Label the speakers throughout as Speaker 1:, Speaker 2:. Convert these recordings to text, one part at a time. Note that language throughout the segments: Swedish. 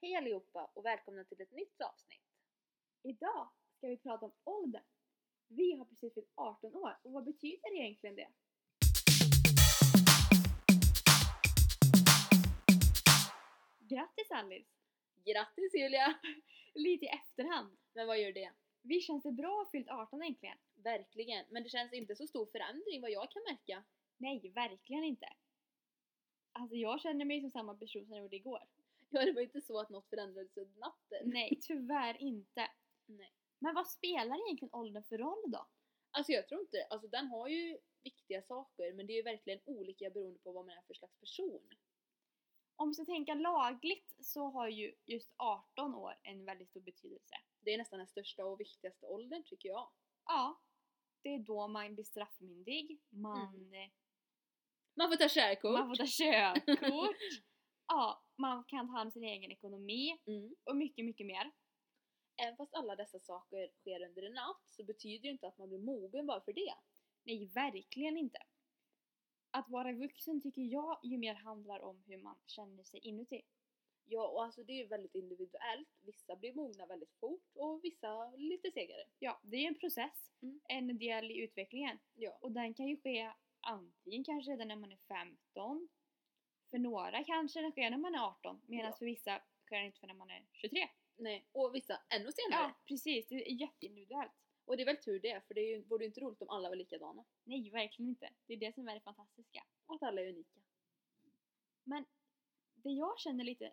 Speaker 1: Hej allihopa och välkomna till ett nytt avsnitt.
Speaker 2: Idag ska vi prata om ålder. Vi har precis fyllt 18 år och vad betyder egentligen det? Grattis Alice!
Speaker 1: Grattis Julia!
Speaker 2: Lite i efterhand.
Speaker 1: Men vad gör det?
Speaker 2: Vi känns det bra att ha fyllt 18 egentligen?
Speaker 1: Verkligen, men det känns inte så stor förändring vad jag kan märka.
Speaker 2: Nej, verkligen inte. Alltså jag känner mig som samma person som jag gjorde igår.
Speaker 1: Ja, det var ju inte så att något förändrades över natten.
Speaker 2: Nej, tyvärr inte.
Speaker 1: Nej.
Speaker 2: Men vad spelar egentligen åldern för roll då?
Speaker 1: Alltså jag tror inte, alltså den har ju viktiga saker men det är ju verkligen olika beroende på vad man är för slags person.
Speaker 2: Om vi ska tänka lagligt så har ju just 18 år en väldigt stor betydelse.
Speaker 1: Det är nästan den största och viktigaste åldern tycker jag.
Speaker 2: Ja, det är då man blir straffmyndig, man, eh,
Speaker 1: Man får ta körkort!
Speaker 2: man får ta körkort, ja, man kan ta hand om sin egen ekonomi
Speaker 1: Mm.
Speaker 2: och mycket, mycket mer.
Speaker 1: Även fast alla dessa saker sker under en natt så betyder ju inte att man blir mogen bara för det.
Speaker 2: Nej, verkligen inte. Att vara vuxen tycker jag ju mer handlar om hur man känner sig inuti.
Speaker 1: Ja, och alltså det är ju väldigt individuellt. Vissa blir mogna väldigt fort och vissa lite segare.
Speaker 2: Ja, det är ju en process,
Speaker 1: Mm.
Speaker 2: en del i utvecklingen
Speaker 1: Ja.
Speaker 2: och den kan ju ske antingen kanske redan när man är 15, för några kanske den sker när man är 18 medan
Speaker 1: Ja.
Speaker 2: för vissa sker den inte förrän man är 23.
Speaker 1: Nej, och vissa ännu senare.
Speaker 2: Ja, precis. Det är jätteindividuellt.
Speaker 1: Och det är väl tur det, för det är ju, vore ju inte roligt om alla var likadana.
Speaker 2: Nej, verkligen inte. Det är det som är det fantastiska.
Speaker 1: Och att alla är unika.
Speaker 2: Men det jag känner lite,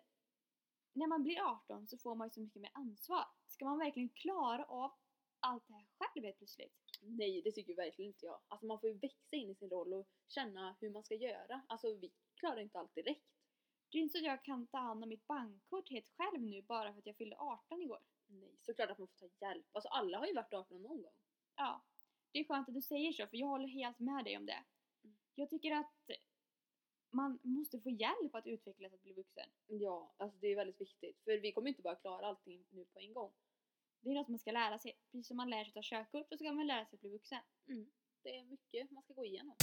Speaker 2: när man blir 18 så får man ju så mycket mer ansvar. Ska man verkligen klara av allt det här själv helt plötsligt?
Speaker 1: Nej, det tycker verkligen inte jag. Alltså man får ju växa in i sin roll och känna hur man ska göra. Alltså vi klarar inte allt direkt.
Speaker 2: Det är ju inte så att jag kan ta hand om mitt bankkort helt själv nu bara för att jag fyllde 18 igår.
Speaker 1: Nej, såklart att man får ta hjälp. Alltså alla har ju varit 18 någon gång.
Speaker 2: Ja, det är skönt att du säger så för jag håller helt med dig om det.
Speaker 1: Mm.
Speaker 2: Jag tycker att man måste få hjälp att utvecklas att bli vuxen.
Speaker 1: Ja, alltså det är väldigt viktigt. För vi kommer ju inte bara klara allting nu på en gång.
Speaker 2: Det är något man ska lära sig. Precis som man lär sig ta körkort så ska man lära sig att bli vuxen.
Speaker 1: Mm. Det är mycket man ska gå igenom.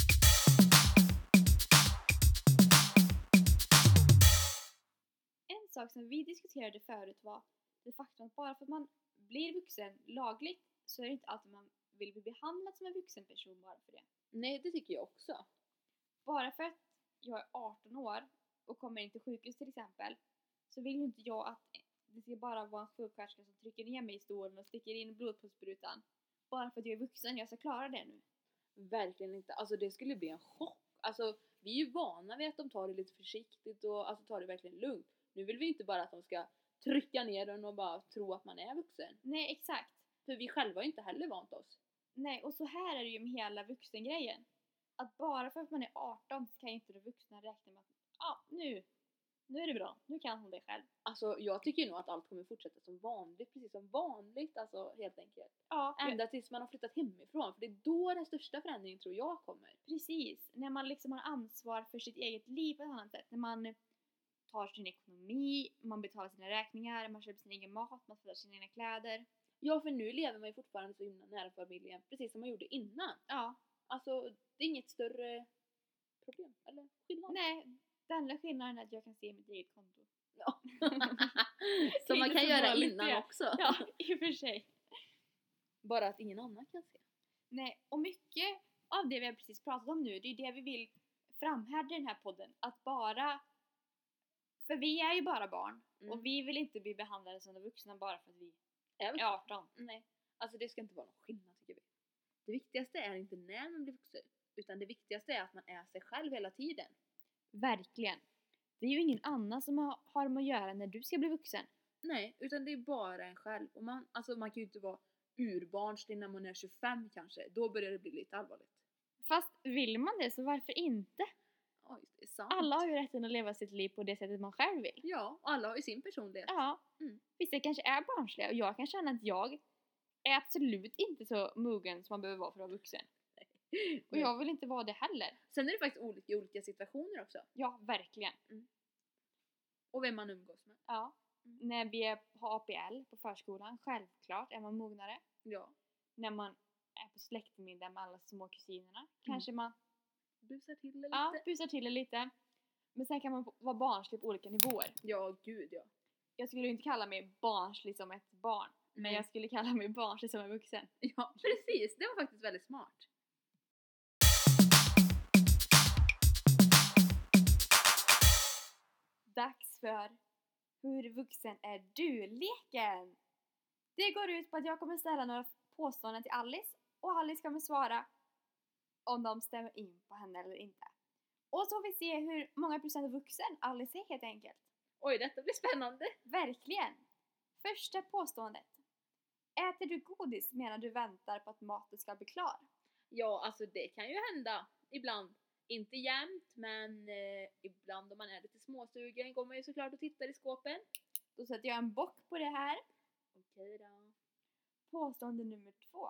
Speaker 2: En sak som vi diskuterade förut var det faktum att bara för att man blir vuxen lagligt så är det inte alltid man vill bli behandlad som en vuxen person bara för det.
Speaker 1: Nej, det tycker jag också.
Speaker 2: Bara för att jag är 18 år och kommer in till sjukhus till exempel så vill ju inte jag att det ska bara vara en sjuksköterska som trycker ner mig i stolen och sticker in blodprovssprutan. Bara för att jag är vuxen, jag ska klara det nu.
Speaker 1: Verkligen inte. Alltså det skulle bli en chock. Alltså vi är ju vana vid att de tar det lite försiktigt och alltså tar det verkligen lugnt. Nu vill vi inte bara att de ska trycka ner den och bara tro att man är vuxen.
Speaker 2: Nej, exakt.
Speaker 1: För vi själva har ju inte heller vant oss.
Speaker 2: Nej, och så här är det ju med hela vuxengrejen. Att bara för att man är 18 så kan ju inte de vuxna räkna med att ja, nu, nu är det bra, nu kan hon det själv.
Speaker 1: Alltså jag tycker nog att allt kommer fortsätta som vanligt, precis som vanligt alltså helt enkelt.
Speaker 2: Ja,
Speaker 1: Ända tills man har flyttat hemifrån för det är då den största förändringen tror jag kommer.
Speaker 2: precis. När man liksom har ansvar för sitt eget liv på ett annat sätt. När man tar sin ekonomi, man betalar sina räkningar, man köper sin egen mat, man tvättar sina egna kläder.
Speaker 1: Ja för nu lever man ju fortfarande så himla nära familjen precis som man gjorde innan.
Speaker 2: Ja,
Speaker 1: Alltså det är inget större problem eller skillnad.
Speaker 2: nej. Den enda skillnaden är att jag kan se mitt eget konto.
Speaker 1: Ja.
Speaker 2: Det är
Speaker 1: Som man
Speaker 2: inte
Speaker 1: kan
Speaker 2: så
Speaker 1: göra
Speaker 2: vanligt
Speaker 1: innan
Speaker 2: det.
Speaker 1: också.
Speaker 2: Ja, i och för sig.
Speaker 1: Bara att ingen annan kan se.
Speaker 2: Nej, och mycket av det vi har precis pratat om nu, det är det vi vill framhärda i den här podden. Att bara... För vi är ju bara barn
Speaker 1: Mm.
Speaker 2: och vi vill inte bli behandlade som de vuxna bara för att vi
Speaker 1: Även
Speaker 2: är 18.
Speaker 1: Nej. Alltså det ska inte vara någon skillnad tycker vi. Det viktigaste är inte när man blir vuxen. Utan det viktigaste är att man är sig själv hela tiden.
Speaker 2: Verkligen. Det är ju ingen annan som har, har med att göra när du ska bli vuxen.
Speaker 1: Nej, utan det är bara en själv. Och man, alltså man kan ju inte vara urbarnslig när man är 25 kanske. Då börjar det bli lite allvarligt.
Speaker 2: Fast vill man det så varför inte?
Speaker 1: Ja, just det. det är sant.
Speaker 2: Alla har ju rätten att leva sitt liv på det sättet man själv vill.
Speaker 1: Ja, och alla har ju sin personlighet.
Speaker 2: Ja.
Speaker 1: Mm.
Speaker 2: Vissa kanske är barnsliga och jag kan känna att jag är absolut inte så mogen som man behöver vara för att vara vuxen. Och
Speaker 1: Men-
Speaker 2: jag vill inte vara det heller.
Speaker 1: Sen är det faktiskt olika i olika situationer också.
Speaker 2: Ja, verkligen.
Speaker 1: Mm. Och vem man umgås med.
Speaker 2: Ja.
Speaker 1: Mm.
Speaker 2: När vi är på APL på förskolan, självklart är man mognare.
Speaker 1: Ja.
Speaker 2: När man är på släktmiddag med alla små kusinerna kanske man
Speaker 1: Busar till det Mm. lite.
Speaker 2: ja, busar till det lite. Men sen kan man vara barnslig på olika nivåer.
Speaker 1: ja, gud ja.
Speaker 2: jag skulle ju inte kalla mig barnslig som ett barn. Men
Speaker 1: Mm.
Speaker 2: jag skulle kalla mig barnslig som en vuxen.
Speaker 1: Ja, precis. Det var faktiskt väldigt smart.
Speaker 2: Dags för Hur vuxen är du-leken! Det går ut på att jag kommer ställa några påståenden till Alice och Alice kommer svara om de stämmer in på henne eller inte. Och så får vi se hur många procent vuxen Alice är helt enkelt.
Speaker 1: Oj, detta blir spännande.
Speaker 2: Verkligen! Första påståendet. Äter du godis medan du väntar på att maten ska bli klar?
Speaker 1: Ja, alltså det kan ju hända ibland. Inte jämt, men eh, ibland om man är lite småsugen går man ju såklart och tittar i skåpen.
Speaker 2: Då sätter jag en bock på det här.
Speaker 1: Okej då.
Speaker 2: Påstående nummer två.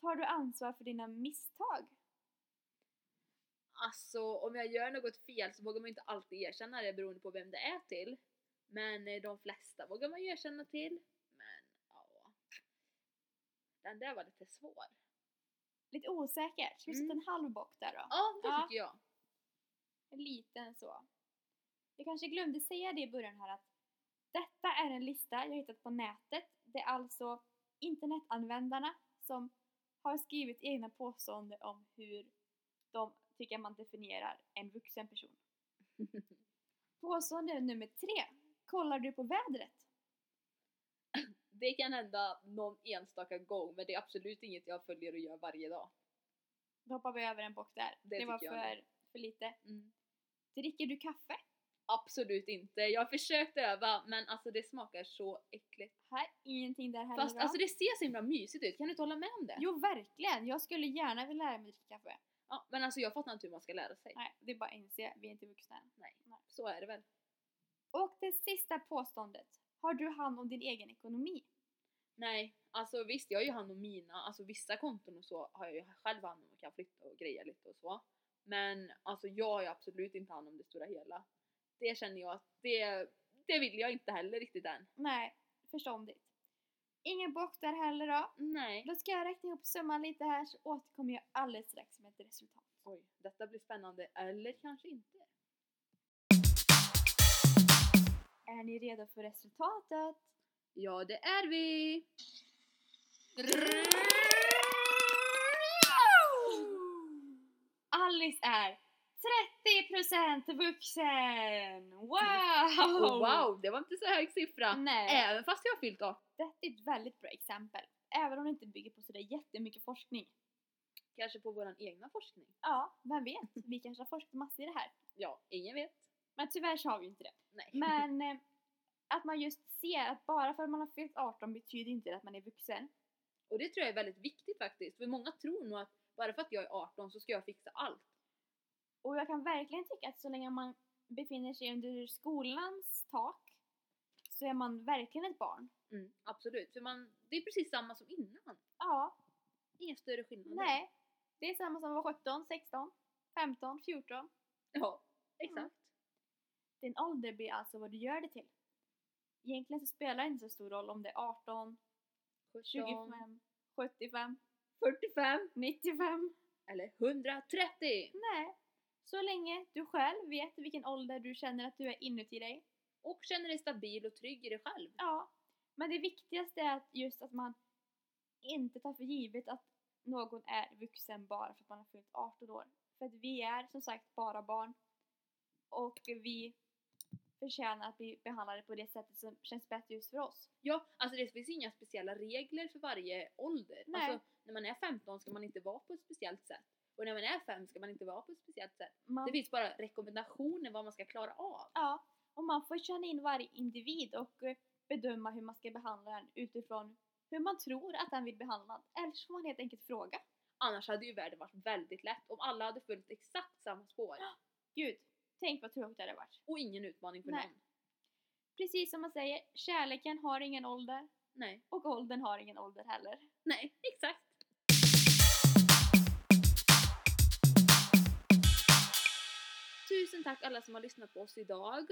Speaker 2: Tar du ansvar för dina misstag?
Speaker 1: Alltså, om jag gör något fel så vågar man ju inte alltid erkänna det beroende på vem det är till. Men eh, de flesta vågar man ju erkänna till. Men, ja. Den där var lite svår.
Speaker 2: Lite osäkert. Ska vi
Speaker 1: Mm.
Speaker 2: sätta en halv bock där då?
Speaker 1: Ja, det
Speaker 2: Ja.
Speaker 1: tycker jag.
Speaker 2: En liten så. Jag kanske glömde säga det i början här att detta är en lista jag hittat på nätet. Det är alltså internetanvändarna som har skrivit egna påståenden om hur de tycker man definierar en vuxen person. Påstående nummer tre. Kollar du på vädret?
Speaker 1: Det kan hända någon enstaka gång, men det är absolut inget jag följer och gör varje dag.
Speaker 2: Då hoppar vi över en bock där.
Speaker 1: Det
Speaker 2: Det, var
Speaker 1: tycker jag
Speaker 2: för, för lite. Dricker du kaffe?
Speaker 1: Absolut inte. Jag har försökt öva, men alltså det smakar så äckligt.
Speaker 2: Här, ingenting där heller
Speaker 1: Fast
Speaker 2: va?
Speaker 1: alltså det ser så himla mysigt ut, kan du inte hålla med om det?
Speaker 2: Jo, verkligen! Jag skulle gärna vilja lära mig att dricka kaffe.
Speaker 1: Ja, men alltså jag fattar inte hur man ska lära sig.
Speaker 2: Nej, det är bara att inse. Vi är inte vuxna än.
Speaker 1: Så är det väl.
Speaker 2: Och det sista påståendet. Har du hand om din egen ekonomi?
Speaker 1: Nej, alltså visst jag har ju hand om mina, alltså vissa konton och så har jag ju själv hand om och kan flytta och greja lite och så. Men alltså jag har ju absolut inte hand om det stora hela. Det känner jag att det, det vill jag inte heller riktigt än.
Speaker 2: Nej, förståndigt. Ingen bock där heller då.
Speaker 1: Nej.
Speaker 2: Då ska jag räkna ihop summan lite här så återkommer jag alldeles strax med ett resultat.
Speaker 1: Oj, detta blir spännande. Eller kanske inte.
Speaker 2: Är ni redo för resultatet?
Speaker 1: Ja, det är vi!
Speaker 2: Alice är 30% vuxen! Wow!
Speaker 1: Oh, Mm. wow, det var inte så hög siffra.
Speaker 2: Nej.
Speaker 1: Även fast jag har fyllt 18.
Speaker 2: Detta är ett väldigt bra exempel. Även om det inte bygger på sådär jättemycket forskning.
Speaker 1: Kanske på våran egna forskning.
Speaker 2: Ja, vem vet? Vi kanske har forskat massor i det här.
Speaker 1: Ja, ingen vet.
Speaker 2: Men tyvärr så har vi inte det.
Speaker 1: Nej.
Speaker 2: Men eh, att man just ser att bara för att man har fyllt 18 betyder inte det att man är vuxen.
Speaker 1: Och det tror jag är väldigt viktigt faktiskt. För många tror nog att bara för att jag är 18 så ska jag fixa allt.
Speaker 2: Och jag kan verkligen tycka att så länge man befinner sig under skolans tak så är man verkligen ett barn.
Speaker 1: Absolut. För man, det är precis samma som innan.
Speaker 2: Ja,
Speaker 1: Inga större skillnader.
Speaker 2: nej. Det är samma som var 17, 16, 15, 14.
Speaker 1: Ja, exakt.
Speaker 2: Mm. Din ålder blir alltså vad du gör det till. Egentligen så spelar det inte så stor roll om det är 18,
Speaker 1: 25,
Speaker 2: 25, 75,
Speaker 1: 45
Speaker 2: 95.
Speaker 1: eller 130.
Speaker 2: Nej. Så länge du själv vet vilken ålder du känner att du är inuti dig.
Speaker 1: Och känner dig stabil och trygg i dig själv.
Speaker 2: Ja. Men det viktigaste är att just att man inte tar för givet att någon är vuxen bara för att man har fyllt 18 år. För att vi är som sagt bara barn. Och vi förtjänar att bli behandlade på det sättet som känns bättre just för oss.
Speaker 1: Ja, alltså det finns inga speciella regler för varje ålder.
Speaker 2: Nej.
Speaker 1: Alltså, när man är 15 ska man inte vara på ett speciellt sätt. Och när man är 5 ska man inte vara på ett speciellt sätt.
Speaker 2: Man,
Speaker 1: Det finns bara rekommendationer vad man ska klara av.
Speaker 2: ja, och man får känna in varje individ och eh, bedöma hur man ska behandla den utifrån hur man tror att den vill behandlad. Eller så får man helt enkelt fråga.
Speaker 1: Annars hade ju världen varit väldigt lätt om alla hade följt exakt samma spår.
Speaker 2: Gud, tänk vad tråkigt det hade varit.
Speaker 1: Och ingen utmaning för
Speaker 2: Nej.
Speaker 1: någon.
Speaker 2: Precis som man säger, kärleken har ingen ålder
Speaker 1: Nej.
Speaker 2: och åldern har ingen ålder heller.
Speaker 1: Nej, exakt. Tusen tack alla som har lyssnat på oss idag.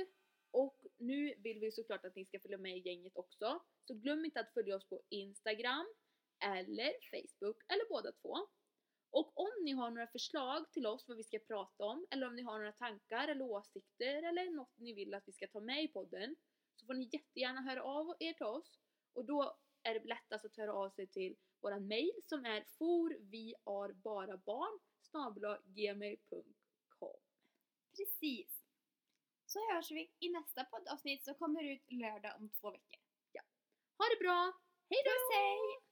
Speaker 1: Och nu vill vi såklart att ni ska följa med i gänget också. Så glöm inte att följa oss på Instagram eller Facebook eller båda två. Och om ni har några förslag till oss vad vi ska prata om eller om ni har några tankar eller åsikter eller något ni vill att vi ska ta med i podden så får ni jättegärna höra av er till oss. Och då är det lättast att höra av sig till våran mail som är forviarbarabarn gmail.com
Speaker 2: Precis. Så hörs vi i nästa poddavsnitt som kommer ut lördag om två veckor.
Speaker 1: Ha det bra! Hej då!
Speaker 2: Puss hej!